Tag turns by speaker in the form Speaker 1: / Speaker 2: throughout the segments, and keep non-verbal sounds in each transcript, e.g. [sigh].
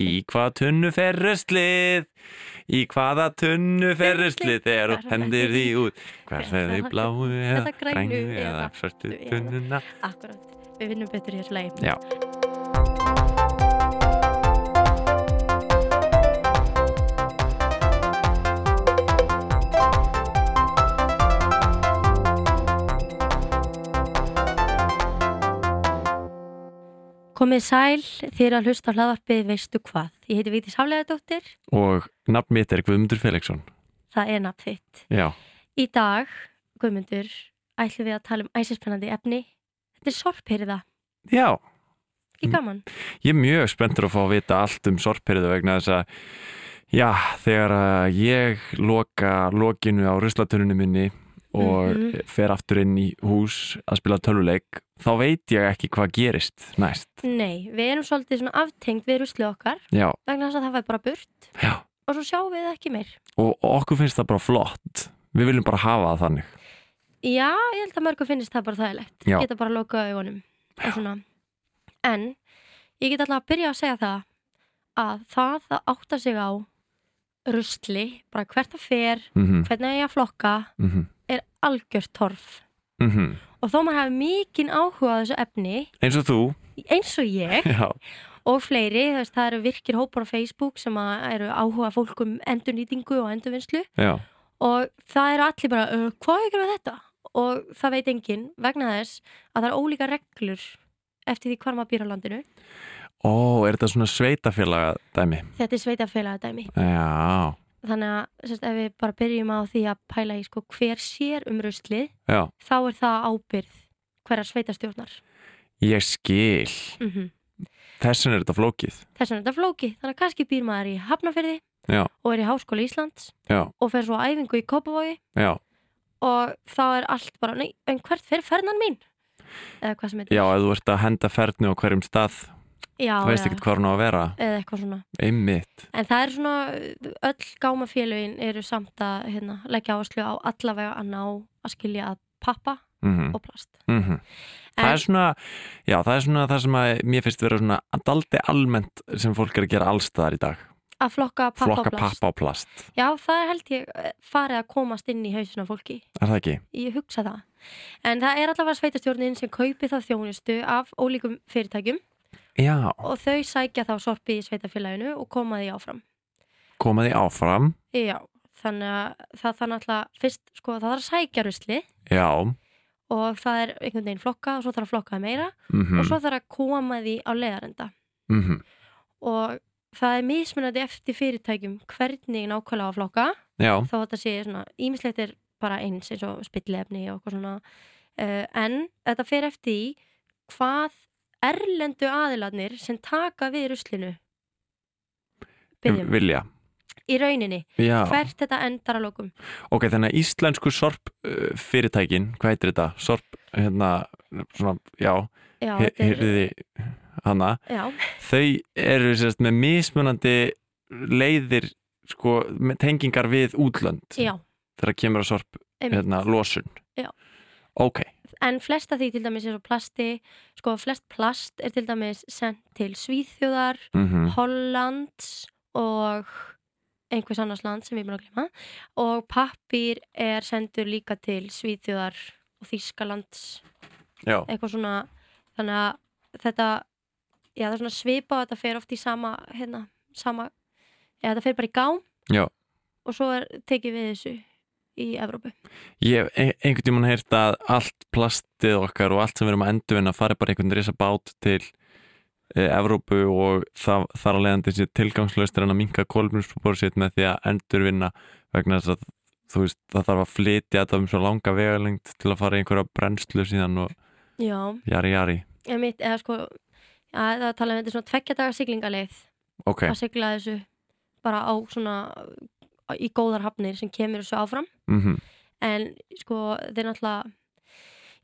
Speaker 1: Í hvaða tunnu fer ruslið? Í hvaða tunnu fer ruslið þegar þú hendir því út? Hvers er því bláu eða
Speaker 2: Eða grænu
Speaker 1: grænu eða
Speaker 2: eða
Speaker 1: svartu
Speaker 2: eða-
Speaker 1: tunnuna?
Speaker 2: Akkurat, við vinnum betur í þessu lagi.
Speaker 1: Já.
Speaker 2: Komið sæl, þið eru að hlusta á hlaðvarpið veistu hvað. Ég heiti Víti Sálegaðdóttir,
Speaker 1: Og nafn mitt er Guðmundur Felixson.
Speaker 2: það er nafn þitt.
Speaker 1: Já,
Speaker 2: Í dag, Guðmundur, ætlum við að tala um æsispennandi efni. Þetta er sorphyrða,
Speaker 1: já.
Speaker 2: ekki gaman?
Speaker 1: Ég er mjög spenntur að fá að vita allt um sorphyrðu vegna þess að já, þegar að ég loka lokinu á ruslatununum minni og
Speaker 2: Mhm.
Speaker 1: fer aftur inn í hús að spila töluleik þá veit ég ekki hvað gerist næst.
Speaker 2: Nei, við erum svolítið svona aftengt við ruslið okkar,
Speaker 1: Já,
Speaker 2: vegna þess að það var bara burt
Speaker 1: já.
Speaker 2: og svo sjáum við ekki meir.
Speaker 1: Og okkur finnst það bara flott. Við viljum bara hafa það þannig.
Speaker 2: Já, ég held að mörgum finnist það bara þægilegt
Speaker 1: Já.
Speaker 2: Geta bara að loka augunum og svona. En ég get alltaf að byrja að segja það að það að átta sig á rusli, bara hvert það fer
Speaker 1: Mhm,
Speaker 2: hvernig ég að flokka
Speaker 1: mhm,
Speaker 2: er algjört torf
Speaker 1: mhm.
Speaker 2: og þó maður hafi mikinn áhuga á þessu efni
Speaker 1: Eins og þú.
Speaker 2: eins
Speaker 1: [laughs]
Speaker 2: og ég
Speaker 1: Já.
Speaker 2: og fleiri, þú veist, það eru virkir hópar á Facebook sem að eru áhuga fólk um endurnýtingu og endurvinnslu
Speaker 1: Já.
Speaker 2: og það eru allir bara, uh, hvað er að þetta? Og það veit enginn vegna þess að það eru ólíka reglur eftir því hvar maður býr á landinu.
Speaker 1: Ó, er þetta svona sveitafélaga dæmi?
Speaker 2: Þetta er sveitafélaga dæmi.
Speaker 1: Já.
Speaker 2: Þannig að sérst, ef við bara byrjum á því að pæla í sko, hver sér um ruslið,
Speaker 1: Já.
Speaker 2: þá er það ábyrð hverjar sveitastjórnar.
Speaker 1: Ég skil.
Speaker 2: Mm
Speaker 1: Þessin er þetta flókið.
Speaker 2: Þess vegna er þetta flókið. Þannig að kannski býr maður í Hafnafyrði
Speaker 1: Já.
Speaker 2: og er í Háskóla Íslands
Speaker 1: Já.
Speaker 2: og fer svo á æfingu í Kópavogi
Speaker 1: Já.
Speaker 2: og þá er allt bara, nei, en hvert fer fernan mín? Eða hvað sem heitir.
Speaker 1: Já, ef þú ert að henda fernu á hverjum stað,
Speaker 2: Já,
Speaker 1: þú veist
Speaker 2: eða-
Speaker 1: ekkert hvað hún á að vera.
Speaker 2: eða eitthvað svona.
Speaker 1: Einmitt.
Speaker 2: En það er svona, öll gámafélögin eru samt að hérna, leggja áherslu á allavega að ná að skilja að pappa
Speaker 1: Mm
Speaker 2: og plast.
Speaker 1: Það
Speaker 2: En-
Speaker 1: er svona, já, það er svona það sem að mér finnst vera svona daldi almennt sem fólk er að gera allstaðar í dag.
Speaker 2: Að flokka pappa
Speaker 1: Flokka
Speaker 2: og plast.
Speaker 1: pappa og plast.
Speaker 2: Já, það er held ég eh, farið að komast inn í hausina fólki.
Speaker 1: Er það ekki?
Speaker 2: Ég hugsa það. En það er allavega sveitastjórnin sem kaupi þá þjónustu af ólíkum fyrirtækjum
Speaker 1: Já.
Speaker 2: og þau sækja þá sorpi í sveitafélaginu og koma því áfram.
Speaker 1: Koma því áfram.
Speaker 2: Já, þannig að það þannig alltaf fyrst, sko, það þarf að sækja rusli
Speaker 1: Já.
Speaker 2: og það er einhvern veginn flokka og svo þarf að flokka það meira
Speaker 1: Mm
Speaker 2: og svo þarf að koma því á leiðarenda
Speaker 1: Mhm.
Speaker 2: og það er mismunandi eftir fyrirtækjum hvernig nákvæmlega á að flokka
Speaker 1: Já.
Speaker 2: þá þetta sé svona, ímislegt er bara eins eins og spillefni og eitthvað svona uh, en þetta fer eftir í hvað erlendu aðilarnir sem taka við ruslinu byrjum
Speaker 1: Vilja.
Speaker 2: í rauninni,
Speaker 1: Já.
Speaker 2: hvert þetta endar að lokum
Speaker 1: Ok, þannig að íslensku sorp uh, fyrirtækin, hvað heitir þetta? Sorp, hérna, svona, já,
Speaker 2: já,
Speaker 1: he-
Speaker 2: þetta er-
Speaker 1: heyrði hana.
Speaker 2: já,
Speaker 1: þau eru sérst, með mismunandi leiðir sko, með tengingar við útlönd
Speaker 2: já,
Speaker 1: þegar kemur að sorp
Speaker 2: einmitt.
Speaker 1: hérna, losun
Speaker 2: Já.
Speaker 1: ok,
Speaker 2: en flesta því til dæmis er svo plasti sko flest plast er til dæmis sendt til Svíþjóðar
Speaker 1: mm
Speaker 2: Hollands og einhvers annars land sem ég mér að glema og pappir er sendur líka til Svíþjóðar og Þýskalands
Speaker 1: já,
Speaker 2: eitthvað svona þannig að þetta já það er svona svipa og þetta fer oft í sama hérna, sama já þetta fer bara í gám
Speaker 1: Já.
Speaker 2: og svo er tekið við þessu í Evrópu
Speaker 1: ég hef ein- einhvern tímann heyrt að allt plastið okkar og allt sem við erum að endurvinna fari bara einhvern risa bát til e, Evrópu og það, þar að leiðandi sér tilgangslaustur en að minka kolminsbúr sitt með því að endurvinna vegna þess að þú veist, það þarf að flytja þetta um svo langa vegalengt til að fara í einhverja brennslu síðan og
Speaker 2: já,
Speaker 1: jari jari
Speaker 2: ég mitt eða sko já, það er talað um þetta er svona tveggja daga siglingaleið
Speaker 1: ok,
Speaker 2: að sigla þessu bara á svona í góðar hafnir sem kemur þessu áfram
Speaker 1: mhm
Speaker 2: en sko þeir náttúrulega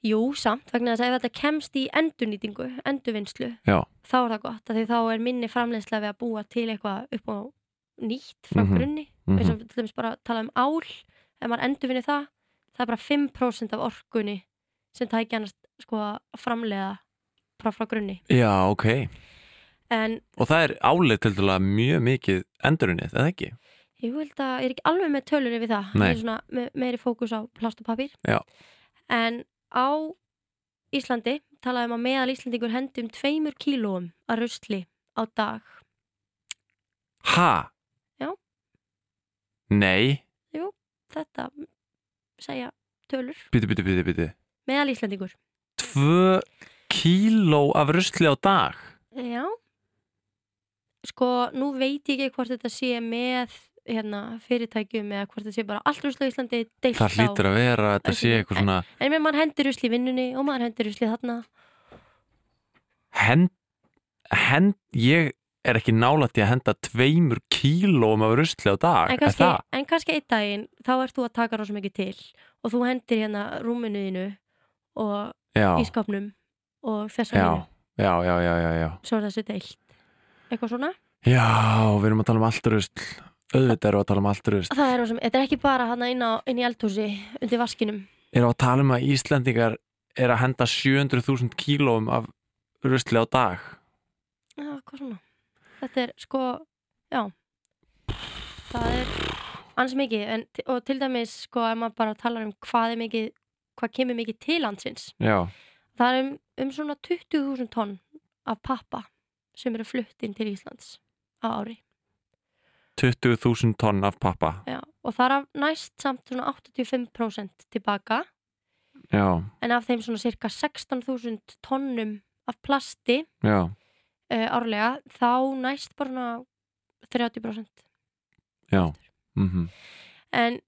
Speaker 2: jú samt vegna þess að ef þetta kemst í endurnýtingu, endurvinnslu
Speaker 1: Já.
Speaker 2: þá er það gott að því þá er minni framleiðsla við að búa til eitthvað upp á nýtt frá
Speaker 1: Mhm,
Speaker 2: grunni
Speaker 1: mhm.
Speaker 2: eins og til dæmis bara að tala um ál ef maður endurvinni það, það er bara 5% af orkunni sem tækja annars sko að framleiða frá frá grunni
Speaker 1: Já, ok.
Speaker 2: en
Speaker 1: Og það er álið til dæla mjög mikið endurunnið, eða ekki?
Speaker 2: ég held að ég er ekki alveg með tölur yfir það
Speaker 1: Nei.
Speaker 2: Ég er svona, me meiri fókus á plast og papír
Speaker 1: Já.
Speaker 2: en á Íslandi talaði um að meðal Íslandingur hendi um tveimur kílóum að rusli á dag
Speaker 1: Ha?
Speaker 2: Já.
Speaker 1: Nei,
Speaker 2: þetta segja tölur
Speaker 1: bíti, bíti, bíti, bíti.
Speaker 2: meðal Íslandingur
Speaker 1: Tvö kíló af rusli á dag.
Speaker 2: Já. Sko, nú veit ég ekki hvort þetta sé með hérna, fyrirtækjum eða hvort þetta sé bara allt rusla í Íslandi deilt
Speaker 1: Það hlýtur að vera, að þetta sé eitthvað svona,
Speaker 2: á. En mér maður hendir rusli í vinnunni og maður hendir rusli þarna.
Speaker 1: hend, hend, ég er ekki nálætti að henda tveimur kílóum af rusli á dag.
Speaker 2: En
Speaker 1: er
Speaker 2: kannski,
Speaker 1: það?
Speaker 2: en kannski einn daginn, þá ert þú að taka rosa mikið til og þú hendir hérna rúminuðinu og
Speaker 1: Já,
Speaker 2: í skapnum og þess að
Speaker 1: já, já, já, já, já, já.
Speaker 2: svo er þessu deilt. Eitthvað svona?
Speaker 1: Já, við erum að tala um allt rusl. Auðvitað erum við að tala um allt rusl.
Speaker 2: Það er, rosa- þetta er ekki bara hana inn, á, inn í eldhúsi undir vaskinum.
Speaker 1: erum að tala um að Íslendingar er að henda 700.000 kílóum af rusli á dag
Speaker 2: Já, hvað svona? Þetta er sko, já Það er ans mikið en, og til dæmis sko ef maður bara talar um hvað er mikið hvað kemur mikið til landsins
Speaker 1: Já,
Speaker 2: það er um, um svona 20.000 tonn af pappa sem eru flutt inn til Íslands á ári
Speaker 1: 20.000 tonn af pappa
Speaker 2: já. og það er af næst samt svona 85% tilbaka
Speaker 1: Já,
Speaker 2: en af þeim svona cirka 16.000 tonnum af plasti
Speaker 1: já,
Speaker 2: uh, árlega þá næst bara svona 30%
Speaker 1: já mm
Speaker 2: en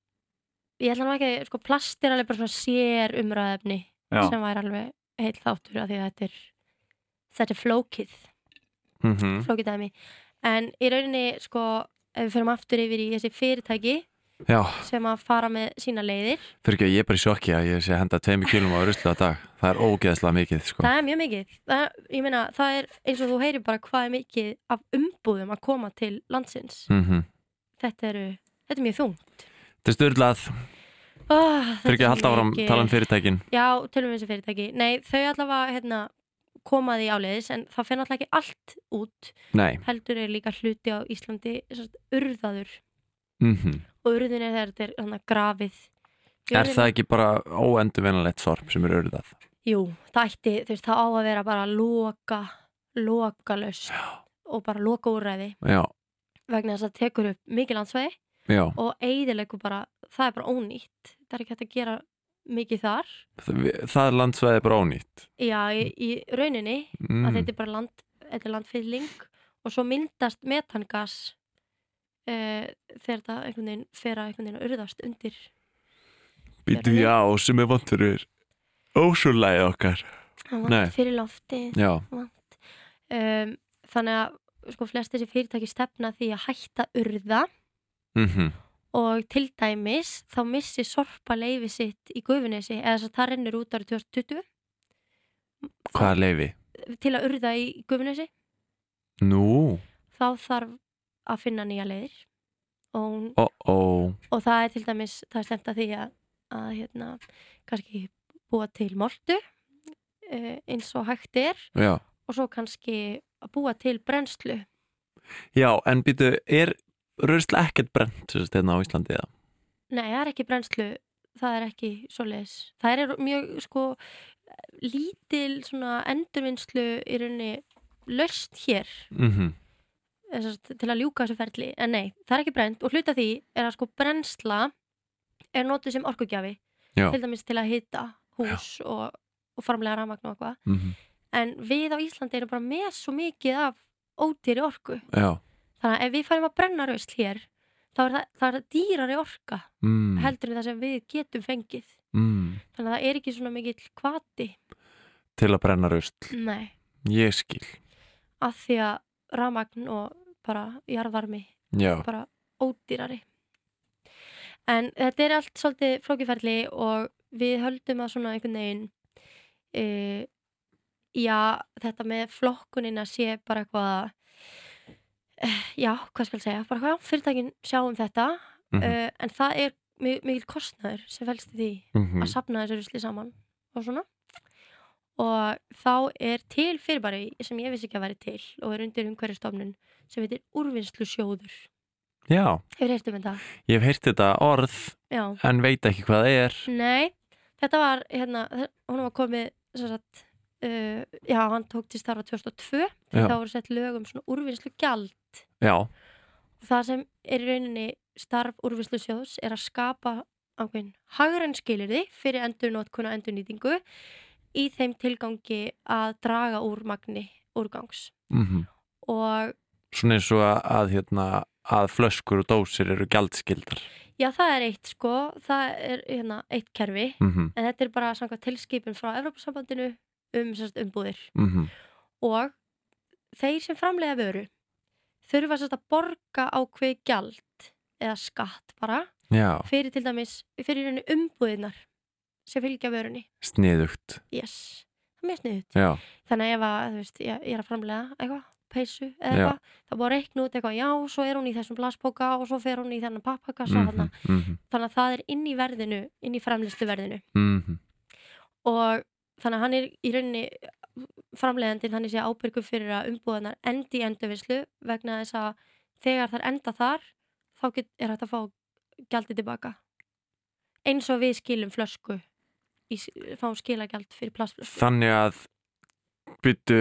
Speaker 2: ég ætla nú ekki að, sko, plast er alveg bara svona sér umræðefni
Speaker 1: Já,
Speaker 2: sem væri alveg heil þáttur af því að þetta er þetta er flókið,
Speaker 1: mm -hmm.
Speaker 2: flókið dæmi en í rauninni, sko ef við förum aftur yfir í þessi fyrirtæki
Speaker 1: já
Speaker 2: sem að fara með sína leiðir
Speaker 1: fyrir ekki að ég er bara í sjokki að ég sé að henda 2 kílóum af rusli á dag Það er ógeðslega mikið sko.
Speaker 2: það er mjög mikið, það, ég meina það er eins og þú heyrir bara hvað er mikið af umbúðum að koma til landsins
Speaker 1: mm
Speaker 2: þetta eru, þetta er mjög þung
Speaker 1: Þetta er styrlað,
Speaker 2: oh,
Speaker 1: fyrir ekki að halda áram tala um fyrirtækin
Speaker 2: Já, tölum við þessi fyrirtæki. Nei, þau allavega hérna, koma því áleiðis en það fyrir allavega ekki allt út.
Speaker 1: Nei,
Speaker 2: Heldur er líka hluti á Íslandi sem sagt, urðaður
Speaker 1: mm
Speaker 2: og urðin er þegar þetta er hana, grafið.
Speaker 1: er
Speaker 2: Jörðin-
Speaker 1: það ekki bara óendurvinalegt sorp sem er urðað?
Speaker 2: Jú, það ætti, þú veist, það á að vera bara loka, lokalöst og bara loka úræði
Speaker 1: Já,
Speaker 2: vegna þess að það tekur upp mikið landsvegi
Speaker 1: já
Speaker 2: og eidilegur bara, það er bara ónýtt. Það er ekki hægt að gera mikið þar.
Speaker 1: Það, það landsvæði er bara ónýtt
Speaker 2: Já, í, í rauninni að
Speaker 1: mm.
Speaker 2: þetta er bara land, þetta er landfylling og svo myndast metangas uh, þegar það einhvern veginn fer að einhvern veginn að urðast undir
Speaker 1: Býtu já, sem er vant fyrir ósúlæði okkar
Speaker 2: það
Speaker 1: Nei.
Speaker 2: vant fyrir loftið
Speaker 1: Já,
Speaker 2: um, þannig að sko flest þessi fyrirtæki stefna því að hætta urða
Speaker 1: mm
Speaker 2: og til dæmis þá missi sorpa leifi sitt í gufinesi eða þess að það rennur út árið 2020
Speaker 1: hvað er leifi?
Speaker 2: til að urða í gufinesi
Speaker 1: Nú,
Speaker 2: þá þarf að finna nýja leiðir og hún
Speaker 1: ó-ó
Speaker 2: og það er til dæmis, það er slemt að því að, að hérna, kannski búa til moltu uh, eins og hægt er
Speaker 1: Já.
Speaker 2: og svo kannski að búa til brennslu.
Speaker 1: já, en býtu, er rusl ekkert brent sem sagt, hérna á Íslandi eða?
Speaker 2: Nei, það er ekki brennslu, það er ekki svoleiðis. Það er mjög, sko, lítil svona endurvinnslu í rauninni löst hér
Speaker 1: Mm
Speaker 2: sem sagt, til að ljúka þessu ferli, en nei, það er ekki brent og hluta því er að sko brennsla er notuð sem orkugjafi
Speaker 1: Já.
Speaker 2: til dæmis til að hita hús og, og framlega rafmagn og eitthvað
Speaker 1: mm
Speaker 2: en við á Íslandi erum bara með svo mikið af ódýri orku
Speaker 1: Já
Speaker 2: þannig að ef við færum að brenna rausl hér þá er það, það er dýrari orka
Speaker 1: mm.
Speaker 2: heldur en það sem við getum fengið
Speaker 1: Mm.
Speaker 2: þannig að það er ekki svona mikill kvati
Speaker 1: Til að brenna rusl,
Speaker 2: nei,
Speaker 1: ég skil
Speaker 2: af því að rafmagn og bara jarðvarmi
Speaker 1: Já,
Speaker 2: bara ódýrari en þetta er allt svolítið flókiferli og við höldum að svona einhvern veginn uh, já, þetta með flokkunina sé bara eitthvað uh, já, hvað skal ég segja bara hvað, fyrirtækin sjá um þetta
Speaker 1: Mhm.
Speaker 2: uh, en það er mi- mikil kostnaður sem felst í því
Speaker 1: mm -hmm.
Speaker 2: að sapna þessu rusli saman og svona og þá er til fyrirbæri sem ég vissi ekki að væri til og er undir umhverjastofnun sem heitir úrvinnslu sjóður
Speaker 1: Já,
Speaker 2: hefur heyrt um þetta?
Speaker 1: ég hef heyrt þetta orð
Speaker 2: Já,
Speaker 1: en veit ekki hvað það er
Speaker 2: nei þetta var, hérna, hún var komið sem sagt, uh, já, hann tók til starfa 2002
Speaker 1: Já.
Speaker 2: þegar þá voru sett lög um svona úrvinnslu gjald
Speaker 1: Já,
Speaker 2: það sem er í rauninni starf úrvinnslu sjóðs er að skapa ákveðin hagræn skilirði fyrir endurnotkun og endurnýtingu í þeim tilgangi að draga úr magni úrgangs
Speaker 1: mhm
Speaker 2: og
Speaker 1: svona eins og að, að hérna að flöskur og dósir eru gjaldskildar
Speaker 2: já það er eitt sko það er hérna eitt kerfi
Speaker 1: mm -hmm,
Speaker 2: en þetta er bara samkvæmt tilskipin frá Evropasambandinu um sérst umbúðir
Speaker 1: mm -hmm.
Speaker 2: og þeir sem framlega vöru þurfa sérst að borga ákveði gjald eða skatt bara
Speaker 1: já,
Speaker 2: fyrir til dæmis, fyrir í rauninni umbúðinar sem fylgja vörunni
Speaker 1: sniðugt
Speaker 2: yes, það er mjög sniðut
Speaker 1: já,
Speaker 2: þannig að ef að, þú veist, ég, ég er að framlega eitthvað, peysu
Speaker 1: Já.
Speaker 2: eða eitthvað þá búið að reikna út eitthvað, já, svo er hún í þessum blaspóka og svo fer hún í þennan pappakassa mm
Speaker 1: mhm, mhm,
Speaker 2: þannig að það er inn í verðinu inn í framlistu verðinu
Speaker 1: mhm,
Speaker 2: og þannig að hann er í rauninni eh, framlegandi þannig sé ábyrgu fyrir að umbúðanar endi í endurvislu vegna þess að þegar þær enda þar þá get, er hægt að fá gjaldið tilbaka eins og við skilum flösku í, s- fáum skilagjald fyrir plastflösku
Speaker 1: þannig að byttu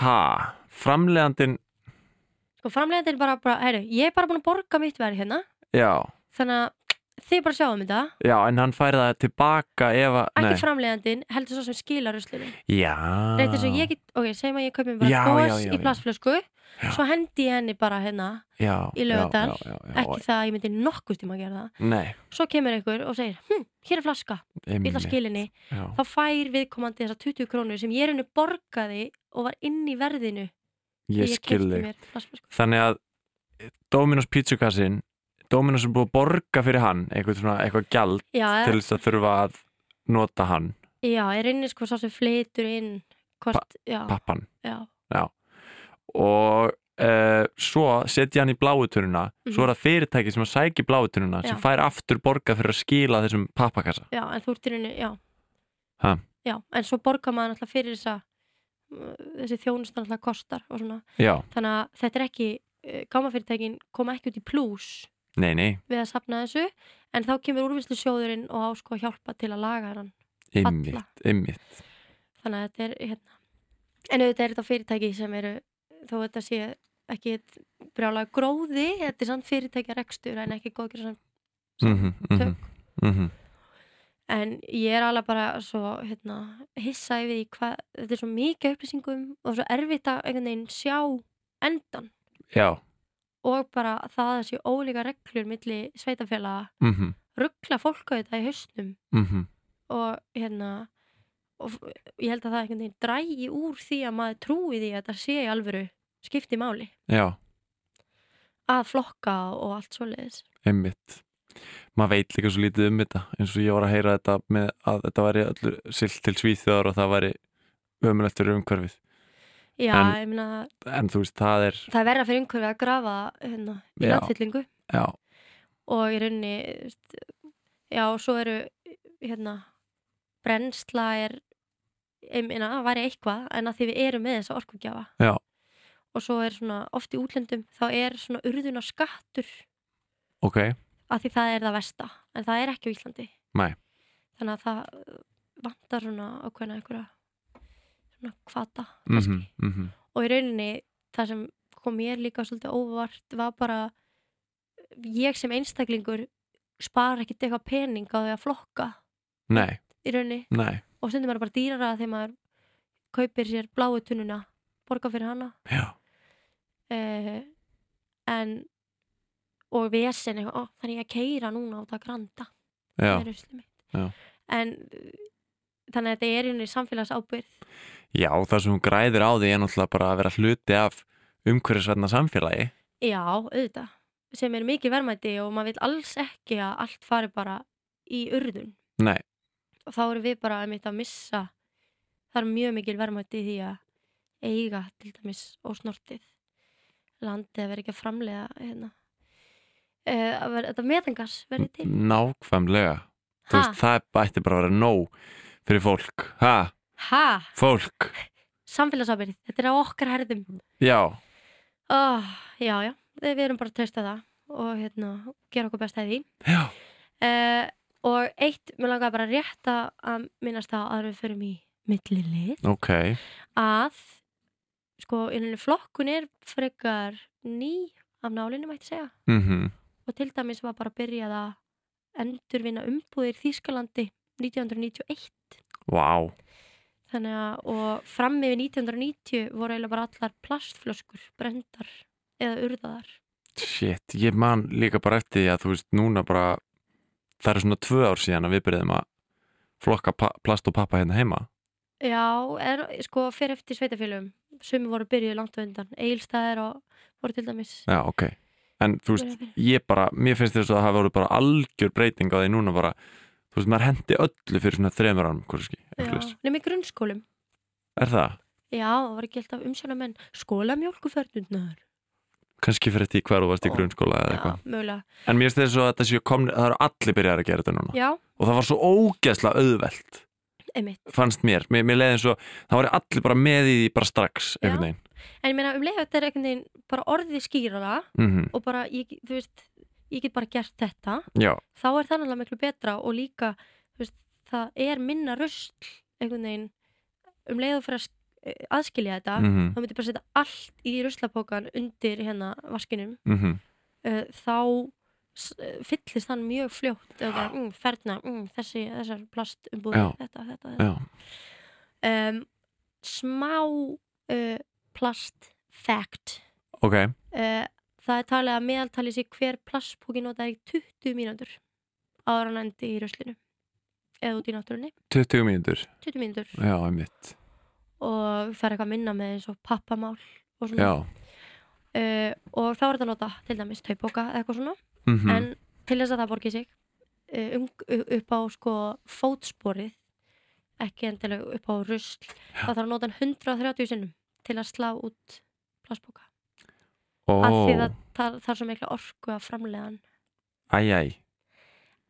Speaker 1: ha, framlegandin
Speaker 2: sko framlegandi er bara, bara heyru, ég er bara búin að borga mitt verð hérna
Speaker 1: já,
Speaker 2: þannig að þið bara sjáum þetta
Speaker 1: já, en hann færi það tilbaka ef að,
Speaker 2: ekki framlegandin, heldur svo sem skilar ruslinu
Speaker 1: já
Speaker 2: reytir svo ég get, ok, segjum að ég kaupi mér
Speaker 1: Ah. Já,
Speaker 2: bara
Speaker 1: já,
Speaker 2: gós
Speaker 1: já,
Speaker 2: í
Speaker 1: já.
Speaker 2: plastflösku
Speaker 1: Já.
Speaker 2: svo hendi ég henni bara hérna
Speaker 1: já,
Speaker 2: í Laugardal,
Speaker 1: já, já, já, já,
Speaker 2: ekki það að ég myndi nokkuð tíma að gera það
Speaker 1: nei,
Speaker 2: svo kemur einhver og segir, hm, hér er flaska ég ætla að
Speaker 1: einmitt,
Speaker 2: skilinni,
Speaker 1: já,
Speaker 2: þá fær viðkomandi þessa 20 krónu sem ég rauninu borgaði og var inn í verðinu
Speaker 1: ég
Speaker 2: þegar
Speaker 1: skil
Speaker 2: keypti
Speaker 1: þig
Speaker 2: mér plastflösku.
Speaker 1: þannig að eh, Dominos pítsukassin Dominos er búið að borga fyrir hann eitthvað, svona, eitthvað gjald
Speaker 2: já,
Speaker 1: til þess að þurfa að nota hann,
Speaker 2: já, ég rauninu sko sá sem flytur inn hvort, já,
Speaker 1: pappan
Speaker 2: já,
Speaker 1: og uh, svo setja hann í bláuturnuna svo
Speaker 2: Mhm.
Speaker 1: er það fyrirtæki sem að sæki bláuturnuna sem
Speaker 2: Já.
Speaker 1: fær aftur borga fyrir að skila þessum pappakassa
Speaker 2: já, en þú ert í rauninu, já
Speaker 1: Ha?
Speaker 2: já, en svo borgar maður náttúrulega fyrir þessa uh, þessi þjónust náttúrulega kostar og svona,
Speaker 1: já,
Speaker 2: þannig að þetta er ekki uh, gámafyrirtækin koma ekki út í plús
Speaker 1: nei, nei,
Speaker 2: við að safna þessu en þá kemur úrvinnslu sjóðurinn og á sko að hjálpa til að laga hennan
Speaker 1: ymmit, ymmit
Speaker 2: þannig að þetta er hérna. en auðvitað er þetta fyrirtæki sem eru þó þetta sé ekki brjálega gróði, þetta er samt fyrirtækja rekstur en ekki góðgjur samt
Speaker 1: mhm, mhm, mhm
Speaker 2: en ég er alveg bara svo hérna, hissa yfir því hvað þetta er svo mikið upplýsingum og svo erfitt að einhvern veginn sjá endan
Speaker 1: já,
Speaker 2: og bara það að það sé ólíka reglur milli sveitafélaga,
Speaker 1: mhm,
Speaker 2: ruggla fólk á þetta í haustum
Speaker 1: mhm
Speaker 2: og hérna og f- ég held að það einhvern veginn drægi úr því að maður trúi því að það sé í alvöru skipti máli
Speaker 1: já,
Speaker 2: að flokka og allt svoleiðis
Speaker 1: ymmit maður veit líka svo lítið um þetta eins og ég var að heyra þetta með að þetta væri allur silt til svíþjóðar og það væri ömulegt fyrir umhverfið
Speaker 2: já,
Speaker 1: En-
Speaker 2: ég meina,
Speaker 1: en þú veist, það er
Speaker 2: það er verða fyrir einhverju að grafa hérna, í
Speaker 1: Já.
Speaker 2: landfyllingu
Speaker 1: já,
Speaker 2: og í rauninni þú veist, já, og svo eru hérna, brennsla er ég meina, það væri eitthvað en að því við erum með þessa orkugjafa
Speaker 1: Já.
Speaker 2: og svo er svona, oft í útlöndum þá er svona urðuna skattur
Speaker 1: ok
Speaker 2: að því það er það versta en það er ekki á Íslandi
Speaker 1: Nei.
Speaker 2: þannig að það uh, vantar svona ákveðna einhverja svona kvata
Speaker 1: mhm,
Speaker 2: kannski.
Speaker 1: mhm.
Speaker 2: og í rauninni það sem kom mér líka svolítið óvart var bara ég sem einstaklingur spara ekkert eitthvað pening á því að flokka
Speaker 1: nei,
Speaker 2: í rauninni
Speaker 1: nei
Speaker 2: og stundum er það bara dýrara þegar maður kaupir sér bláu tunnuna borga fyrir hana
Speaker 1: Já,
Speaker 2: uh, en og vesen eitthvað, ó, þannig ég að keira núna á það granda
Speaker 1: já,
Speaker 2: með ruslið
Speaker 1: Já.
Speaker 2: mitt en uh, þannig að þetta er einu samfélags ábyrð
Speaker 1: já, það sem hún græðir á því er náttúrulega bara að vera hluti af umhverfisverna samfélagi
Speaker 2: já, auðvitað, sem er mikið verðmæti og maður vil alls ekki að allt fari bara í urðun
Speaker 1: Nei,
Speaker 2: og þá erum við bara að mitt að missa það er mjög mikil verðmæti í því að eiga til dæmis ósnortið landið að vera ekki að framlega hérna uh, að vera, þetta metangas verði til
Speaker 1: nákvæmlega Mm, Þú
Speaker 2: Ha?
Speaker 1: veist, Það ætti bara að vera nóg fyrir fólk ha,
Speaker 2: ha,
Speaker 1: fólk,
Speaker 2: samfélagsábyrð þetta er á okkar herðum
Speaker 1: já
Speaker 2: oh, já, já, við við erum bara að treysta það og hérna, gera okkur besta í því
Speaker 1: Já,
Speaker 2: uh, og eitt, mér langaði bara rétt að- að minnast það að við förum í millilið
Speaker 1: ok,
Speaker 2: að sko, í rauninni flokkun er frekar ný af nálinu mætti segja
Speaker 1: mhm
Speaker 2: og til dæmis var bara byrjað að endurvinna umbúðir Þýskalandi 1991
Speaker 1: Vá,
Speaker 2: þannig að og fram yfir 1990 voru eiginlega bara allar plastflöskur brendar eða urðaðar
Speaker 1: shit, ég man líka bara eftir því að þú veist, núna bara það eru svona tvö ár síðan að við byrjuðum að flokka pa- plast og pappa hérna heima
Speaker 2: Já, er, sko, fyrir eftir sveitafélögum sumi voru byrjuð langt á undan eilstæðir og voru til dæmis
Speaker 1: Já, ok, en þú veist,
Speaker 2: byrjuð fyrir.
Speaker 1: ég bara mér finnst þess að það hafa voru bara algjör breyting á því núna bara, þú veist, maður hendi öllu fyrir svona þremur árum, hvað skil
Speaker 2: Já, nema í grunnskólum
Speaker 1: Er það?
Speaker 2: Já, það var gilt af umsjónamenn skólamjólkuförnundnar
Speaker 1: Kannski fyrir því hver þú varst í
Speaker 2: Ó,
Speaker 1: grunnskóla eða
Speaker 2: Já,
Speaker 1: eitthvað Ah.
Speaker 2: mögulega
Speaker 1: En mér finnst þess að þetta séu komni, það eru allir byrjar að gera þetta núna
Speaker 2: Já,
Speaker 1: og það var svo ógeðslega auðvelt
Speaker 2: einmitt
Speaker 1: fannst mér, mér, mér leiði eins og það var allir bara með í því bara strax einhvern veginn
Speaker 2: En ég meina, um leið og þetta er einhvern veginn bara orðið skýrara
Speaker 1: mm
Speaker 2: og bara, ég, þú veist, ég get bara gert þetta
Speaker 1: Já,
Speaker 2: þá er það náttúrulega miklu betra og líka, þú veist, það er minna rusl einhvern veginn um leið og fyrir að sk- aðskilja þetta
Speaker 1: mm -hmm.
Speaker 2: þá myndi bara setja allt í ruslapókan undir hérna vaskinum
Speaker 1: Mm
Speaker 2: uh, þá s- eh, fyllist hann mjög fljótt eða bara, mm, ferna, mm, þessi, þessar plastumbúði,
Speaker 1: Já.
Speaker 2: þetta, þetta,
Speaker 1: Já.
Speaker 2: þetta. Um, smá uh, plast fact
Speaker 1: ok,
Speaker 2: uh, það er talið að meðaltalið sé hver plastpóki notaði í 20 mínútur áður en hann endi í ruslinu eða út í náttúrunni,
Speaker 1: 20 mínútur
Speaker 2: 20 mínútur
Speaker 1: Já, einmitt
Speaker 2: og fer eitthvað minna með eins og pappamál og svona
Speaker 1: Já,
Speaker 2: uh, og þá er þetta að nota til dæmis taupoka eða eitthvað svona
Speaker 1: mm
Speaker 2: en til þess að það borgi sig uh, um, upp á sko fótsporið ekki endilega upp á rusl þá þarf að nota hann 130 sinnum til að slá út plastboka
Speaker 1: Ó,
Speaker 2: af því það þar- þarf svo mikla orku að framlega hann
Speaker 1: æj, æj